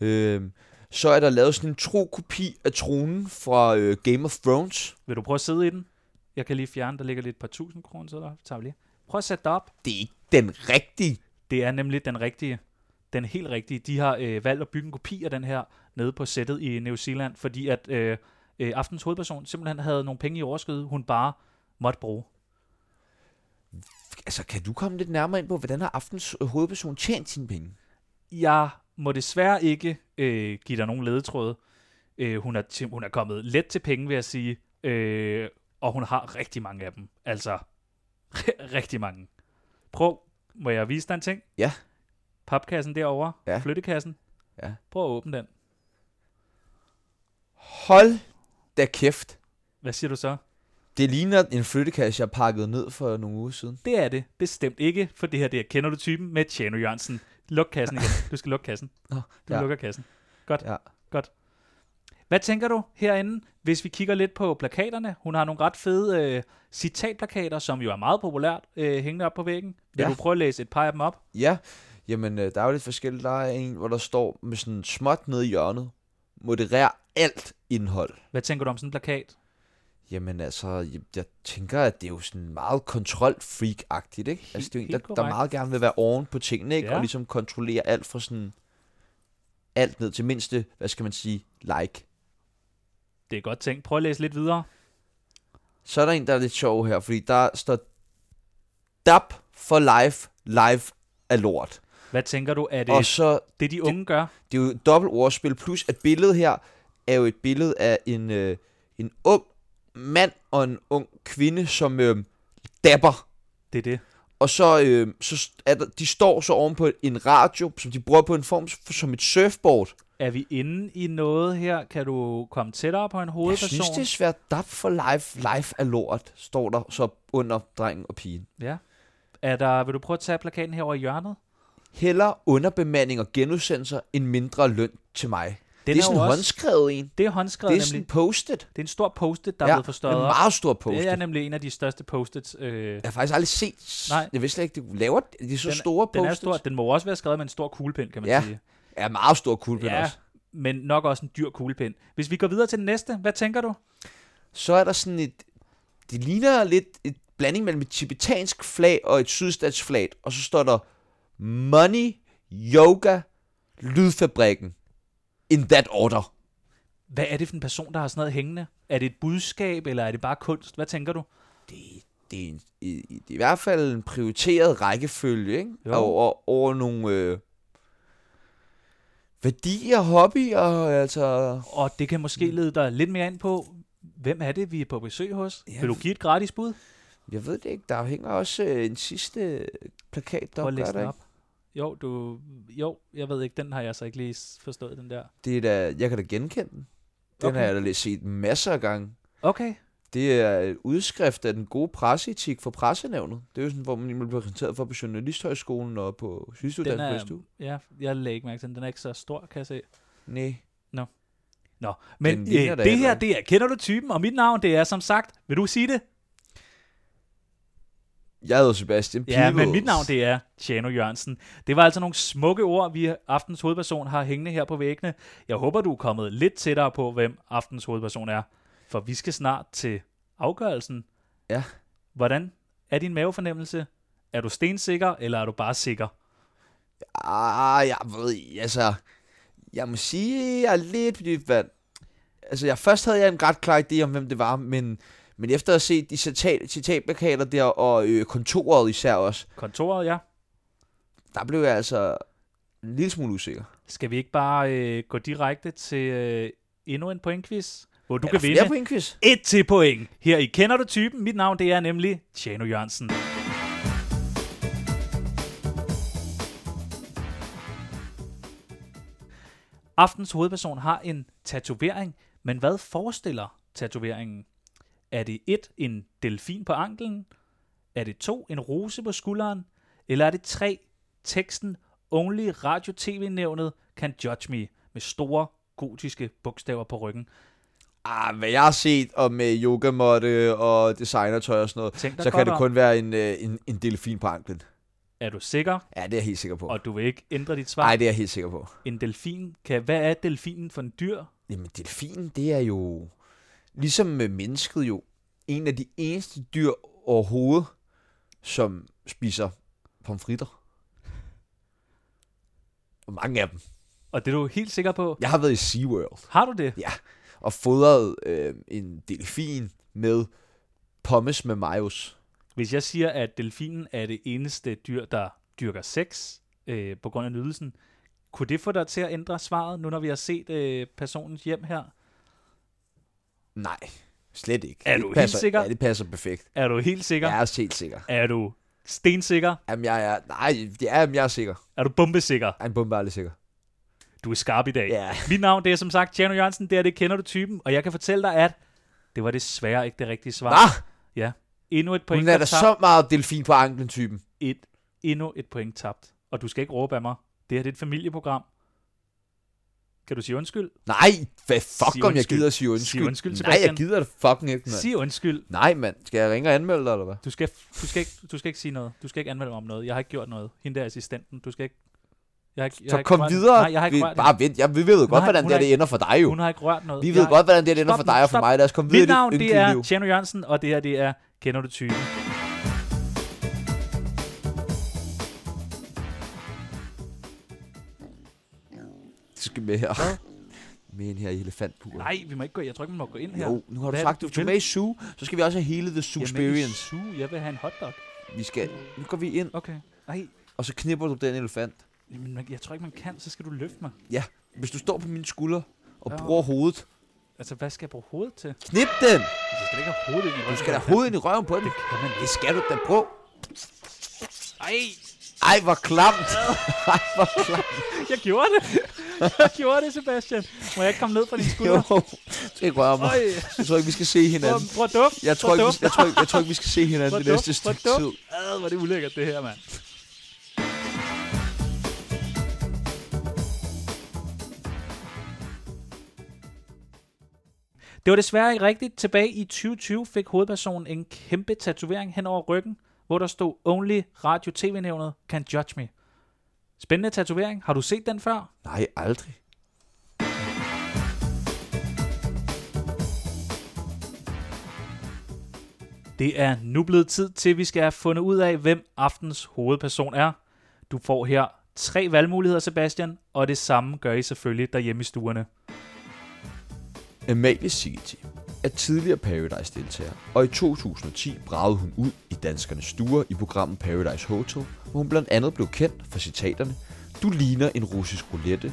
[SPEAKER 4] Øh, så er der lavet sådan en tro kopi af tronen fra øh, Game of Thrones.
[SPEAKER 2] Vil du prøve at sidde i den? Jeg kan lige fjerne, der ligger lige et par tusind kroner, så der tager vi lige. Prøv at sætte dig op.
[SPEAKER 4] Det er ikke den rigtige.
[SPEAKER 2] Det er nemlig den rigtige. Den helt rigtige. De har øh, valgt at bygge en kopi af den her nede på sættet i New Zealand, fordi at øh, øh, aftens hovedperson simpelthen havde nogle penge i overskud, hun bare måtte bruge.
[SPEAKER 4] Altså, kan du komme lidt nærmere ind på, hvordan har aftens øh, hovedperson tjent sine penge?
[SPEAKER 2] Jeg må desværre ikke øh, give dig nogen ledetråde. Øh, hun, er til, hun er kommet let til penge, vil jeg sige. Øh, og hun har rigtig mange af dem. Altså, rigtig mange. Prøv, må jeg vise dig en ting?
[SPEAKER 4] Ja.
[SPEAKER 2] Papkassen derovre,
[SPEAKER 4] Ja.
[SPEAKER 2] flyttekassen.
[SPEAKER 4] Ja.
[SPEAKER 2] Prøv at åbne den.
[SPEAKER 4] Hold da kæft.
[SPEAKER 2] Hvad siger du så?
[SPEAKER 4] Det ligner en flyttekasse, jeg pakkede ned for nogle uger siden.
[SPEAKER 2] Det er det bestemt ikke, for det her det er Kender du typen med Tjano Jørgensen. Luk kassen igen. Du skal lukke kassen.
[SPEAKER 4] Nå,
[SPEAKER 2] Du
[SPEAKER 4] ja.
[SPEAKER 2] lukker kassen. Godt.
[SPEAKER 4] Ja.
[SPEAKER 2] Godt. Hvad tænker du herinde, hvis vi kigger lidt på plakaterne? Hun har nogle ret fede øh, citatplakater, som jo er meget populært, øh, hængende op på væggen. Vil
[SPEAKER 4] Ja.
[SPEAKER 2] du prøve at læse et par af dem op?
[SPEAKER 4] Ja, jamen øh, der er jo lidt forskelligt. Der er en, hvor der står med sådan småt nede i hjørnet. Moderer alt indhold.
[SPEAKER 2] Hvad tænker du om sådan en plakat?
[SPEAKER 4] Jamen altså, jeg, jeg tænker, at det er jo sådan meget kontrolfreak-agtigt, ikke? Altså, det er jo en,
[SPEAKER 2] helt
[SPEAKER 4] der, der
[SPEAKER 2] korrekt.
[SPEAKER 4] meget gerne vil være oven på tingene, ikke?
[SPEAKER 2] Ja.
[SPEAKER 4] Ja. Og ligesom kontrollere alt fra sådan... Alt ned til mindste, hvad skal man sige, like.
[SPEAKER 2] Det er godt tænkt. Prøv at læse lidt videre.
[SPEAKER 4] Så er der en, der er lidt sjov her, fordi der står... Dab for life, life er lort.
[SPEAKER 2] Hvad tænker du, er det
[SPEAKER 4] Og så
[SPEAKER 2] det, de unge gør?
[SPEAKER 4] Det er jo et dobbelt ordspil, plus at billedet her er jo et billede af en, øh, en ung mand og en ung kvinde, som øh, dapper.
[SPEAKER 2] Det er det.
[SPEAKER 4] Og så, øh, så st- er der, de står så oven på en radio, som de bruger på en form s- som et surfboard.
[SPEAKER 2] Er vi inde i noget her? Kan du komme tættere på en
[SPEAKER 4] Jeg
[SPEAKER 2] hovedperson?
[SPEAKER 4] synes, det er svært. Dab for life. Life er lort, står der så under drengen og pigen.
[SPEAKER 2] Ja. Er der, vil du prøve at tage plakaten herover i hjørnet?
[SPEAKER 4] Heller underbemanding og genudsendelser en mindre løn til mig.
[SPEAKER 2] Den
[SPEAKER 4] det er sådan
[SPEAKER 2] jo
[SPEAKER 4] en
[SPEAKER 2] også-
[SPEAKER 4] håndskrevet en.
[SPEAKER 2] Det er
[SPEAKER 4] Det
[SPEAKER 2] håndskrevet
[SPEAKER 4] er
[SPEAKER 2] nemlig.
[SPEAKER 4] sådan postet.
[SPEAKER 2] Det er en stor post-it, der ja, er blevet
[SPEAKER 4] en
[SPEAKER 2] forstørret op.
[SPEAKER 4] meget stor post
[SPEAKER 2] Det er nemlig en af de største post-its. Øh,
[SPEAKER 4] Jeg har faktisk aldrig set...
[SPEAKER 2] Nej.
[SPEAKER 4] Nej. Jeg vidste slet ikke, de laver de er så
[SPEAKER 2] Den-
[SPEAKER 4] store
[SPEAKER 2] den er
[SPEAKER 4] post-its.
[SPEAKER 2] stor. Den må jo også være skrevet med en stor kuglepen, kan man
[SPEAKER 4] Ja,
[SPEAKER 2] sige.
[SPEAKER 4] Ja, meget stor kuglepen ja. også.
[SPEAKER 2] men nok også en dyr kuglepen. Hvis vi går videre til den næste, hvad tænker du?
[SPEAKER 4] Så er der sådan et... Det ligner lidt et blanding mellem et tibetansk flag og et sydstatsflag. Og så står der Money, Yoga, Lydfabrikken. In that order.
[SPEAKER 2] Hvad er det for en person, der har sådan noget hængende? Er det et budskab, eller er det bare kunst? Hvad tænker du?
[SPEAKER 4] Det, det, er, en, i, i, det er i hvert fald en prioriteret rækkefølge, ikke?
[SPEAKER 2] Jo.
[SPEAKER 4] Over, over nogle... Øh, værdier, hobbyer, altså...
[SPEAKER 2] Og det kan måske lede dig lidt mere ind på, hvem er det, vi er på besøg hos?
[SPEAKER 4] Ja.
[SPEAKER 2] Vil du give et gratis bud?
[SPEAKER 4] Jeg ved det ikke, der hænger også øh, en sidste øh, plakat, der
[SPEAKER 2] Prøv at
[SPEAKER 4] gør
[SPEAKER 2] læse
[SPEAKER 4] der
[SPEAKER 2] den
[SPEAKER 4] ikke?
[SPEAKER 2] op. Jo, du, jo, jeg ved ikke, den har jeg så ikke lige s- forstået, den der.
[SPEAKER 4] Det er da, jeg kan da genkende den. Den
[SPEAKER 2] Okay.
[SPEAKER 4] har jeg da lige set masser af gange.
[SPEAKER 2] Okay,
[SPEAKER 4] Det er et udskrift af den gode presseetik fra pressenævnet. Det er jo sådan, hvor man bliver præsenteret for på Journalisthøjskolen og på
[SPEAKER 2] den
[SPEAKER 4] Sydstuddannelsen.
[SPEAKER 2] er,
[SPEAKER 4] Du?
[SPEAKER 2] ja, jeg lagde ikke mærke til den. Den er ikke så stor, kan jeg se.
[SPEAKER 4] Nej.
[SPEAKER 2] Nå, men
[SPEAKER 4] Den
[SPEAKER 2] øh,
[SPEAKER 4] ligner da
[SPEAKER 2] det
[SPEAKER 4] heller
[SPEAKER 2] her,
[SPEAKER 4] ikke.
[SPEAKER 2] det er, kender du typen, og mit navn, det er som sagt, vil du sige det?
[SPEAKER 4] Jeg hedder Sebastian
[SPEAKER 2] Ja, men
[SPEAKER 4] Peebles.
[SPEAKER 2] mit navn, det er Tjano Jørgensen. Det var altså nogle smukke ord, vi aftens hovedperson har hængende her på væggene. Jeg håber, du er kommet lidt tættere på, hvem aftens hovedperson er, for vi skal snart til afgørelsen.
[SPEAKER 4] Ja.
[SPEAKER 2] Hvordan er din mavefornemmelse? Er du stensikker, eller er du bare sikker?
[SPEAKER 4] Ah, jeg ved, altså... Jeg må sige, jeg er lidt på dybt vand. Altså, jeg, først havde jeg en ret klar idé om, hvem det var, men, men efter at have set de citat, citatplakater der, og øh, kontoret især også,
[SPEAKER 2] Kontoret, ja.
[SPEAKER 4] der blev jeg altså en lille smule usikker.
[SPEAKER 2] Skal vi ikke bare øh, gå direkte til øh, endnu en pointquiz, hvor du
[SPEAKER 4] er
[SPEAKER 2] kan
[SPEAKER 4] der
[SPEAKER 2] vinde?
[SPEAKER 4] flere på en quiz?
[SPEAKER 2] et til point. Her i Kender du typen? Mit navn det er nemlig Tjano Jørgensen. Aftens hovedperson har en tatovering, men hvad forestiller tatoveringen? Er det et en delfin på anklen? Er det to en rose på skulderen? Eller er det tre teksten Only Radio TV-nævnet Can Judge Me med store gotiske bogstaver på ryggen?
[SPEAKER 4] Ah, hvad jeg har set og med yogamåtte og designertøj og sådan noget,
[SPEAKER 2] Tænk dig
[SPEAKER 4] så
[SPEAKER 2] godt
[SPEAKER 4] kan det
[SPEAKER 2] om.
[SPEAKER 4] kun være en, øh, en, en delfin på anklen.
[SPEAKER 2] Er du sikker?
[SPEAKER 4] Ja, det er jeg helt sikker på.
[SPEAKER 2] Og du vil ikke ændre dit svar?
[SPEAKER 4] Nej,
[SPEAKER 2] Ej.
[SPEAKER 4] det er jeg helt sikker på.
[SPEAKER 2] En delfin kan... Hvad er delfinen for en dyr?
[SPEAKER 4] Jamen, delfin, det er jo... Ligesom med mennesket jo, en af de eneste dyr overhovedet, som spiser pomfritter. Og mange af dem.
[SPEAKER 2] Og det er du helt sikker på.
[SPEAKER 4] Jeg har været i SeaWorld.
[SPEAKER 2] Har du det?
[SPEAKER 4] Ja. Og fodret øh, en delfin med pommes med majos.
[SPEAKER 2] Hvis jeg siger, at delfinen er det eneste dyr, der dyrker sex øh, på grund af nydelsen, kunne det få dig til at ændre svaret, nu når vi har set øh, personens hjem her?
[SPEAKER 4] Nej, slet ikke.
[SPEAKER 2] Er
[SPEAKER 4] Det
[SPEAKER 2] du helt
[SPEAKER 4] passer,
[SPEAKER 2] sikker?
[SPEAKER 4] Ja, det passer perfekt.
[SPEAKER 2] Er du helt sikker?
[SPEAKER 4] Jeg er helt sikker.
[SPEAKER 2] Er du stensikker?
[SPEAKER 4] Jamen, jeg er... Nej, det er, jamen, jeg er sikker.
[SPEAKER 2] Er du bombesikker?
[SPEAKER 4] Ej, en bombe er aldrig sikker.
[SPEAKER 2] Du er skarp i dag.
[SPEAKER 4] Ja.
[SPEAKER 2] Mit navn det er som sagt Tjerno Jørgensen, det er det kender du typen, og jeg kan fortælle dig, at det var desværre ikke det rigtige svar.
[SPEAKER 4] Hvad?
[SPEAKER 2] Ja. Endnu et point,
[SPEAKER 4] Hun er
[SPEAKER 2] der
[SPEAKER 4] da
[SPEAKER 2] tabt.
[SPEAKER 4] så meget delfin på anklen-typen.
[SPEAKER 2] Et, endnu et point tabt. Og du skal ikke råbe af mig. Det her det er et familieprogram. Kan du sige undskyld?
[SPEAKER 4] Nej, hvad fuck
[SPEAKER 2] Sig
[SPEAKER 4] om jeg
[SPEAKER 2] undskyld.
[SPEAKER 4] gider at sige undskyld.
[SPEAKER 2] undskyld,
[SPEAKER 4] Nej, jeg
[SPEAKER 2] Sebastian.
[SPEAKER 4] gider det fucking ikke, mand.
[SPEAKER 2] Sig undskyld.
[SPEAKER 4] Nej, mand. Skal jeg ringe og anmelde dig, eller hvad?
[SPEAKER 2] Du skal, du, skal ikke, du skal ikke sige noget. Du skal ikke anmelde mig om noget. Jeg har ikke gjort noget. Hende der assistenten. Du skal ikke... Jeg har ikke jeg har
[SPEAKER 4] Så
[SPEAKER 2] ikke
[SPEAKER 4] kom
[SPEAKER 2] rørt-
[SPEAKER 4] videre.
[SPEAKER 2] Nej, jeg har ikke
[SPEAKER 4] vi,
[SPEAKER 2] rørt
[SPEAKER 4] bare vent. Jeg, vi ved jo godt,
[SPEAKER 2] Nej,
[SPEAKER 4] hvordan
[SPEAKER 2] hun
[SPEAKER 4] det,
[SPEAKER 2] er
[SPEAKER 4] her, det ender for dig jo.
[SPEAKER 2] hende. Hun har ikke rørt noget.
[SPEAKER 4] Vi ved
[SPEAKER 2] jeg...
[SPEAKER 4] godt, hvordan det her, det ender
[SPEAKER 2] Stop
[SPEAKER 4] for dig
[SPEAKER 2] nu,
[SPEAKER 4] og for
[SPEAKER 2] stop.
[SPEAKER 4] mig. Lad os komme videre. i
[SPEAKER 2] Mit
[SPEAKER 4] dit
[SPEAKER 2] navn, det er
[SPEAKER 4] ynkelliv.
[SPEAKER 2] Tjerno Jørgensen, og det her, det er Kender du typen?
[SPEAKER 4] Du skal med her. Med en her i elefantburet.
[SPEAKER 2] Nej, vi må ikke gå Jeg tror ikke, man må gå ind her.
[SPEAKER 4] Jo, nu har du
[SPEAKER 2] Hvad er
[SPEAKER 4] sagt,
[SPEAKER 2] det,
[SPEAKER 4] du skal med i Zoo. Så skal vi også have hele The Zoo
[SPEAKER 2] Jamen,
[SPEAKER 4] Experience.
[SPEAKER 2] i Zoo, jeg vil have en hotdog.
[SPEAKER 4] Vi skal... Nu går vi ind,
[SPEAKER 2] Okay. Nej,
[SPEAKER 4] og så knipper du den elefant.
[SPEAKER 2] jamen, man- jeg tror ikke, man kan. Så skal du løfte mig.
[SPEAKER 4] Ja, hvis du står på mine skuldre og
[SPEAKER 2] Ja.
[SPEAKER 4] bruger hovedet,
[SPEAKER 2] Altså, hvad skal jeg bruge hovedet til?
[SPEAKER 4] knip den!
[SPEAKER 2] Jeg skal da ikke have hovedet ind i
[SPEAKER 4] Du
[SPEAKER 2] ryggen.
[SPEAKER 4] skal da hovedet ind i røven på den.
[SPEAKER 2] Det kan man
[SPEAKER 4] Det
[SPEAKER 2] ikke.
[SPEAKER 4] skal du da på.
[SPEAKER 2] Ej,
[SPEAKER 4] Ej, hvor klamt. Ej, hvor klamt.
[SPEAKER 2] jeg gjorde det. Jeg gjorde det, Sebastian. Må jeg ikke komme ned fra dine
[SPEAKER 4] Jo,
[SPEAKER 2] skuldre?
[SPEAKER 4] det rører mig.
[SPEAKER 2] Øj,
[SPEAKER 4] Jeg tror ikke, vi skal se
[SPEAKER 2] prøv,
[SPEAKER 4] hinanden.
[SPEAKER 2] prøv at duft.
[SPEAKER 4] Jeg tror,
[SPEAKER 2] prøv at
[SPEAKER 4] ikke, vi,
[SPEAKER 2] duft.
[SPEAKER 4] jeg, tror ikke, jeg tror ikke, vi skal se hinanden
[SPEAKER 2] Hvor
[SPEAKER 4] det næste
[SPEAKER 2] dumt, hvor
[SPEAKER 4] stykke tid.
[SPEAKER 2] dumt. Ad, hvor er det ulækkert, det her, mand. Det var desværre ikke rigtigt. Tilbage i 2020 fik hovedpersonen en kæmpe tatovering hen over ryggen, hvor der stod Only Radio TV-nævnet Can Judge Me. Spændende tatovering. Har du set den før?
[SPEAKER 4] Nej, aldrig.
[SPEAKER 2] Det er nu blevet tid til, at vi skal have fundet ud af, hvem aftens hovedperson er. Du får her tre valgmuligheder, Sebastian, og det samme gør I selvfølgelig derhjemme i stuerne.
[SPEAKER 4] Amalie Sigeti er tidligere Paradise-deltager, og i 2010 bragede hun ud i danskernes stuer i programmet Paradise Hotel, hvor hun blandt andet blev kendt for citaterne Du ligner en russisk roulette,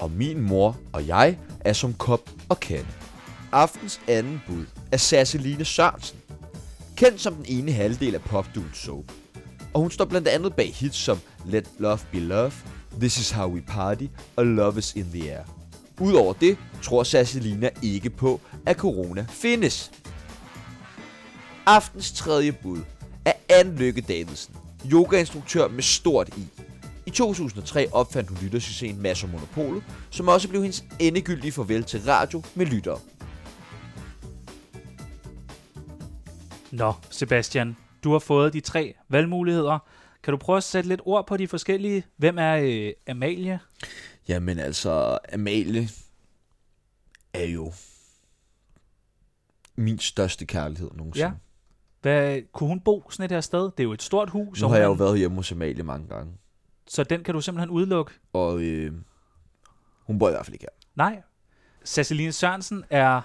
[SPEAKER 4] og min mor og jeg er som kop og kande. Aftens anden bud er Sasseline Sørensen, kendt som den ene halvdel af popduen Soap. Og hun står blandt andet bag hits som Let Love Be Love, This Is How We Party og Love Is In The Air. Udover det tror Sasselina ikke på, at corona findes. Aftens tredje bud er Anne Lykke Davidsen, yogainstruktør med stort i. I 2003 opfandt hun lytterscenen Masser Monopolet, som også blev hendes endegyldige farvel til radio med lyttere.
[SPEAKER 2] Nå, Sebastian, du har fået de tre valgmuligheder. Kan du prøve at sætte lidt ord på de forskellige? Hvem er øh, Amalie?
[SPEAKER 4] Jamen altså, Amalie er jo min største kærlighed nogensinde.
[SPEAKER 2] Ja. Hvad, kunne hun bo sådan et her sted? Det er jo et stort hus.
[SPEAKER 4] Så
[SPEAKER 2] og
[SPEAKER 4] har jeg jo
[SPEAKER 2] hun-
[SPEAKER 4] været hjemme hos Amalie mange gange,
[SPEAKER 2] Så den kan du simpelthen udelukke?
[SPEAKER 4] og øh, hun bor i hvert fald ikke her.
[SPEAKER 2] Nej. Ceciline Sørensen er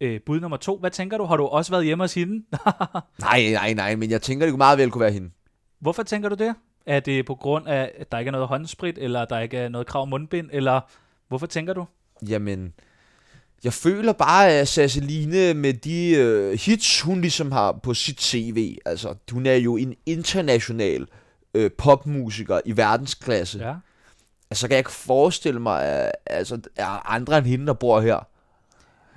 [SPEAKER 2] øh, bud nummer to. Hvad tænker du? Har du også været hjemme hos hende?
[SPEAKER 4] Nej, nej, nej, men jeg tænker, det kunne meget vel kunne være hende.
[SPEAKER 2] Hvorfor tænker du det? Er det på grund af, at der ikke er noget håndsprit, eller der ikke er noget krav om mundbind, eller hvorfor tænker du?
[SPEAKER 4] Jamen, jeg føler bare, at Sasseline med de øh, hits, hun ligesom har på sit tv, altså hun er jo en international øh, popmusiker i verdensklasse.
[SPEAKER 2] Ja.
[SPEAKER 4] Altså, så kan jeg ikke forestille mig, at altså, der er andre end hende, der bor her.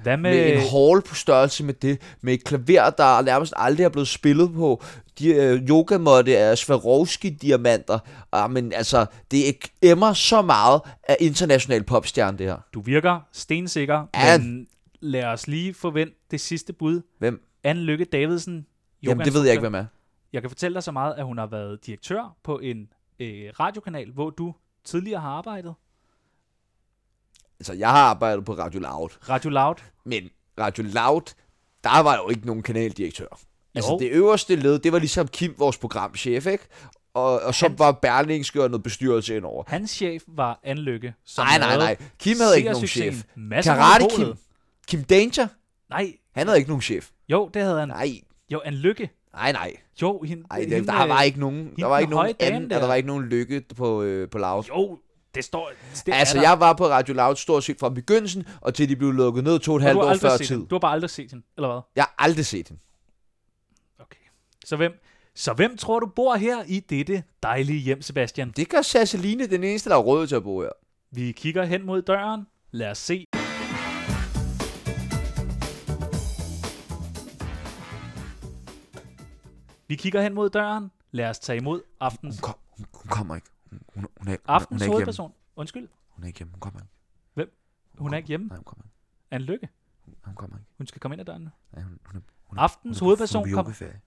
[SPEAKER 2] Hvad med, øh,
[SPEAKER 4] Med en hall på størrelse med det, med et klaver, der nærmest aldrig er blevet spillet på. De øh, yogamåtte er Swarovski-diamanter. Ah, men altså, det ek- emmer så meget af international popstjerne, det her.
[SPEAKER 2] du virker stensikker,
[SPEAKER 4] Ja.
[SPEAKER 2] men lad os lige forvente det sidste bud.
[SPEAKER 4] Hvem?
[SPEAKER 2] Anne Lykke Davidsen.
[SPEAKER 4] Jamen, det ved jeg ikke, hvem er.
[SPEAKER 2] Jeg kan fortælle dig så meget, at hun har været direktør på en øh, radiokanal, hvor du tidligere har arbejdet.
[SPEAKER 4] Altså, jeg har arbejdet på Radio Loud,
[SPEAKER 2] Radio Loud.
[SPEAKER 4] men Radio Loud, der var jo ikke nogen kanaldirektør. Altså,
[SPEAKER 2] Jo.
[SPEAKER 4] det øverste led, det var ligesom Kim, vores programchef, ikke? og, og så
[SPEAKER 2] Han-
[SPEAKER 4] var Berlingske og noget bestyrelse indover.
[SPEAKER 2] Hans chef var Anlykke. som
[SPEAKER 4] Nej, nej,
[SPEAKER 2] lavede
[SPEAKER 4] nej. Kim havde ikke nogen
[SPEAKER 2] seersuccesen
[SPEAKER 4] chef.
[SPEAKER 2] Mads
[SPEAKER 4] Karate
[SPEAKER 2] Monopolet.
[SPEAKER 4] Kim. Kim Danger,
[SPEAKER 2] Nej,
[SPEAKER 4] han havde ikke nogen chef.
[SPEAKER 2] jo, det havde han.
[SPEAKER 4] Nej,
[SPEAKER 2] Jo, Anlykke.
[SPEAKER 4] nej, nej.
[SPEAKER 2] Jo, hende,
[SPEAKER 4] Ej,
[SPEAKER 2] hende,
[SPEAKER 4] det, der var
[SPEAKER 2] øh,
[SPEAKER 4] ikke nogen, der
[SPEAKER 2] hende
[SPEAKER 4] var
[SPEAKER 2] den
[SPEAKER 4] ikke nogen
[SPEAKER 2] høje dame
[SPEAKER 4] anden, der.
[SPEAKER 2] der.
[SPEAKER 4] der var ikke nogen lykke på, øh, på Loud.
[SPEAKER 2] Jo, det står... Det
[SPEAKER 4] Altså,
[SPEAKER 2] er der.
[SPEAKER 4] jeg var på Radio Loud stort set fra begyndelsen, og til de blev lukket ned to og et
[SPEAKER 2] Og
[SPEAKER 4] halvt
[SPEAKER 2] du har
[SPEAKER 4] år
[SPEAKER 2] aldrig
[SPEAKER 4] før
[SPEAKER 2] set
[SPEAKER 4] tid.
[SPEAKER 2] hende. Du har bare aldrig set hende, eller hvad?
[SPEAKER 4] Jeg har aldrig set hende.
[SPEAKER 2] Okay. Så hvem, så hvem tror du bor her i dette dejlige hjem, Sebastian?
[SPEAKER 4] Det gør Sasseline den eneste, der er råd til at bo her.
[SPEAKER 2] Vi kigger hen mod døren. Lad os se. Vi kigger hen mod døren. Lad os tage imod aftens,
[SPEAKER 4] Hun, kom, hun, hun kommer ikke. Hun, hun, hun, er, hun, hun
[SPEAKER 2] aftens
[SPEAKER 4] er ikke hjemme.
[SPEAKER 2] hovedperson. Undskyld,
[SPEAKER 4] Hun er ikke hjemme. Hun kommer ikke.
[SPEAKER 2] hun er ikke hjemme.
[SPEAKER 4] Nej, hun kommer ikke.
[SPEAKER 2] Anne Lykke,
[SPEAKER 4] Hun kommer ikke.
[SPEAKER 2] hun skal komme ind ad døren nu.
[SPEAKER 4] Nej, hun, hun, er, hun, er-
[SPEAKER 2] Aftens
[SPEAKER 4] hun, er-
[SPEAKER 2] hovedperson
[SPEAKER 4] hun er på
[SPEAKER 2] kom...
[SPEAKER 4] yogaferie.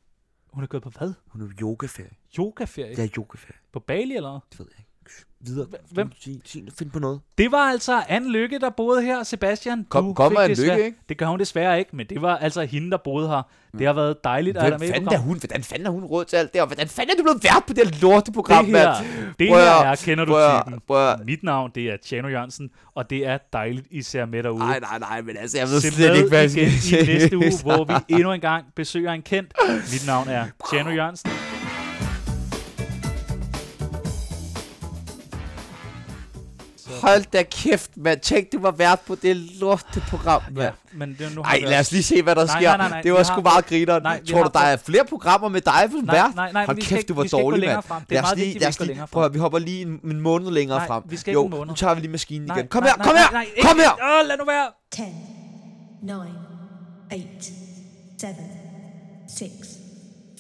[SPEAKER 2] Hun er gået på hvad?
[SPEAKER 4] Hun er på yogaferie.
[SPEAKER 2] Yogaferie?
[SPEAKER 4] Det er yogaferie.
[SPEAKER 2] På Bali eller hvad?
[SPEAKER 4] Det ved jeg ikke. Shh, Videre.
[SPEAKER 2] Hvem?
[SPEAKER 4] Sig, sig, find på noget.
[SPEAKER 2] Det var altså Anne Lykke, der boede her, Sebastian.
[SPEAKER 4] Kom-
[SPEAKER 2] du
[SPEAKER 4] kommer
[SPEAKER 2] fik
[SPEAKER 4] Anne
[SPEAKER 2] desværre-
[SPEAKER 4] Lykke, ikke?
[SPEAKER 2] Det gør hun desværre ikke, men det var altså hende, der boede her. Det har været dejligt at have dig med i
[SPEAKER 4] Hvem fanden er
[SPEAKER 2] programmet.
[SPEAKER 4] hun? Hvordan fanden er hun råd til alt det? Og hvordan fanden er du blevet vært på det her lorteprogram,
[SPEAKER 2] Det her,
[SPEAKER 4] mand?
[SPEAKER 2] det
[SPEAKER 4] Prøv
[SPEAKER 2] her
[SPEAKER 4] at-
[SPEAKER 2] er, kender du
[SPEAKER 4] prøv at-
[SPEAKER 2] typen.
[SPEAKER 4] prøv at-
[SPEAKER 2] Mit navn, det er Tjano Jørgensen, og det er dejligt, I ser med derude.
[SPEAKER 4] Nej, nej, nej, men altså, jeg ved
[SPEAKER 2] Se
[SPEAKER 4] slet
[SPEAKER 2] med
[SPEAKER 4] ikke, hvad jeg
[SPEAKER 2] igen
[SPEAKER 4] skal sige.
[SPEAKER 2] i næste uge, hvor vi endnu en gang besøger en kendt. Mit navn er Tjano Jørgensen.
[SPEAKER 4] Hold da kæft, mand. Tænk, du var vært på det lorteprogram,
[SPEAKER 2] Ja,
[SPEAKER 4] mand.
[SPEAKER 2] men det, nu har
[SPEAKER 4] Ej,
[SPEAKER 2] vi
[SPEAKER 4] lad os lige se, hvad der
[SPEAKER 2] Nej,
[SPEAKER 4] sker.
[SPEAKER 2] nej, nej, nej,
[SPEAKER 4] det var
[SPEAKER 2] vi
[SPEAKER 4] sgu
[SPEAKER 2] har-
[SPEAKER 4] meget grineren.
[SPEAKER 2] nej, vi
[SPEAKER 4] Tror du,
[SPEAKER 2] har-
[SPEAKER 4] der er flere programmer med dig som
[SPEAKER 2] Nej,
[SPEAKER 4] vært?
[SPEAKER 2] nej, nej,
[SPEAKER 4] Hold
[SPEAKER 2] vi skal
[SPEAKER 4] kæft,
[SPEAKER 2] ikke-
[SPEAKER 4] du var
[SPEAKER 2] vi skal ikke gå
[SPEAKER 4] dårlig,
[SPEAKER 2] længere
[SPEAKER 4] mand.
[SPEAKER 2] frem. Det er
[SPEAKER 4] Lad os
[SPEAKER 2] meget
[SPEAKER 4] lige-
[SPEAKER 2] vigtigt,
[SPEAKER 4] lad
[SPEAKER 2] vi
[SPEAKER 4] os
[SPEAKER 2] skal gå
[SPEAKER 4] lige-
[SPEAKER 2] længere
[SPEAKER 4] prøv at høre, vi hopper lige en, en måned længere
[SPEAKER 2] Nej,
[SPEAKER 4] frem.
[SPEAKER 2] vi skal ikke
[SPEAKER 4] jo,
[SPEAKER 2] en måned.
[SPEAKER 4] nu tager vi lige maskinen
[SPEAKER 2] Nej,
[SPEAKER 4] igen. Kom
[SPEAKER 2] nej,
[SPEAKER 4] her,
[SPEAKER 2] nej,
[SPEAKER 4] kom
[SPEAKER 2] nej,
[SPEAKER 4] her,
[SPEAKER 2] nej, ikke-
[SPEAKER 4] kom her.
[SPEAKER 2] Åh, lad nu være.
[SPEAKER 3] 10, 9, 8, 7, 6,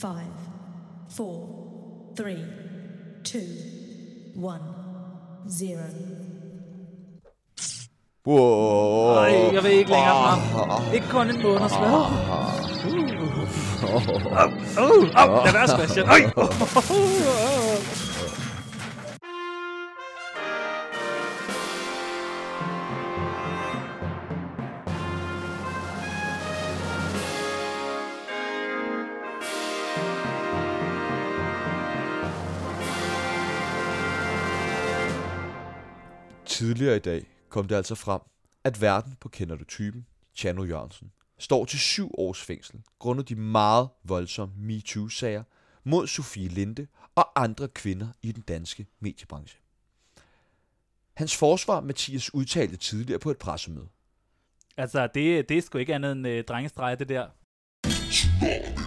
[SPEAKER 3] 5, 4, 3, 2, 1, 0.
[SPEAKER 4] Wow.
[SPEAKER 2] Nej, jeg vil ikke længere frem. Ikke kun en måneds hvad? Uh. Op, op, op. Lad være, Sebastian. Øj.
[SPEAKER 4] Tidligere i dag kom det altså frem, at verden på Kender du typen, Tjano Jørgensen, står til syv års fængsel grundet de meget voldsomme MeToo-sager mod Sofie Linde og andre kvinder i den danske mediebranche. Hans forsvar Mathias udtalte tidligere på et pressemøde.
[SPEAKER 2] Altså, det, det er sgu ikke andet end øh, drengestreger, det der.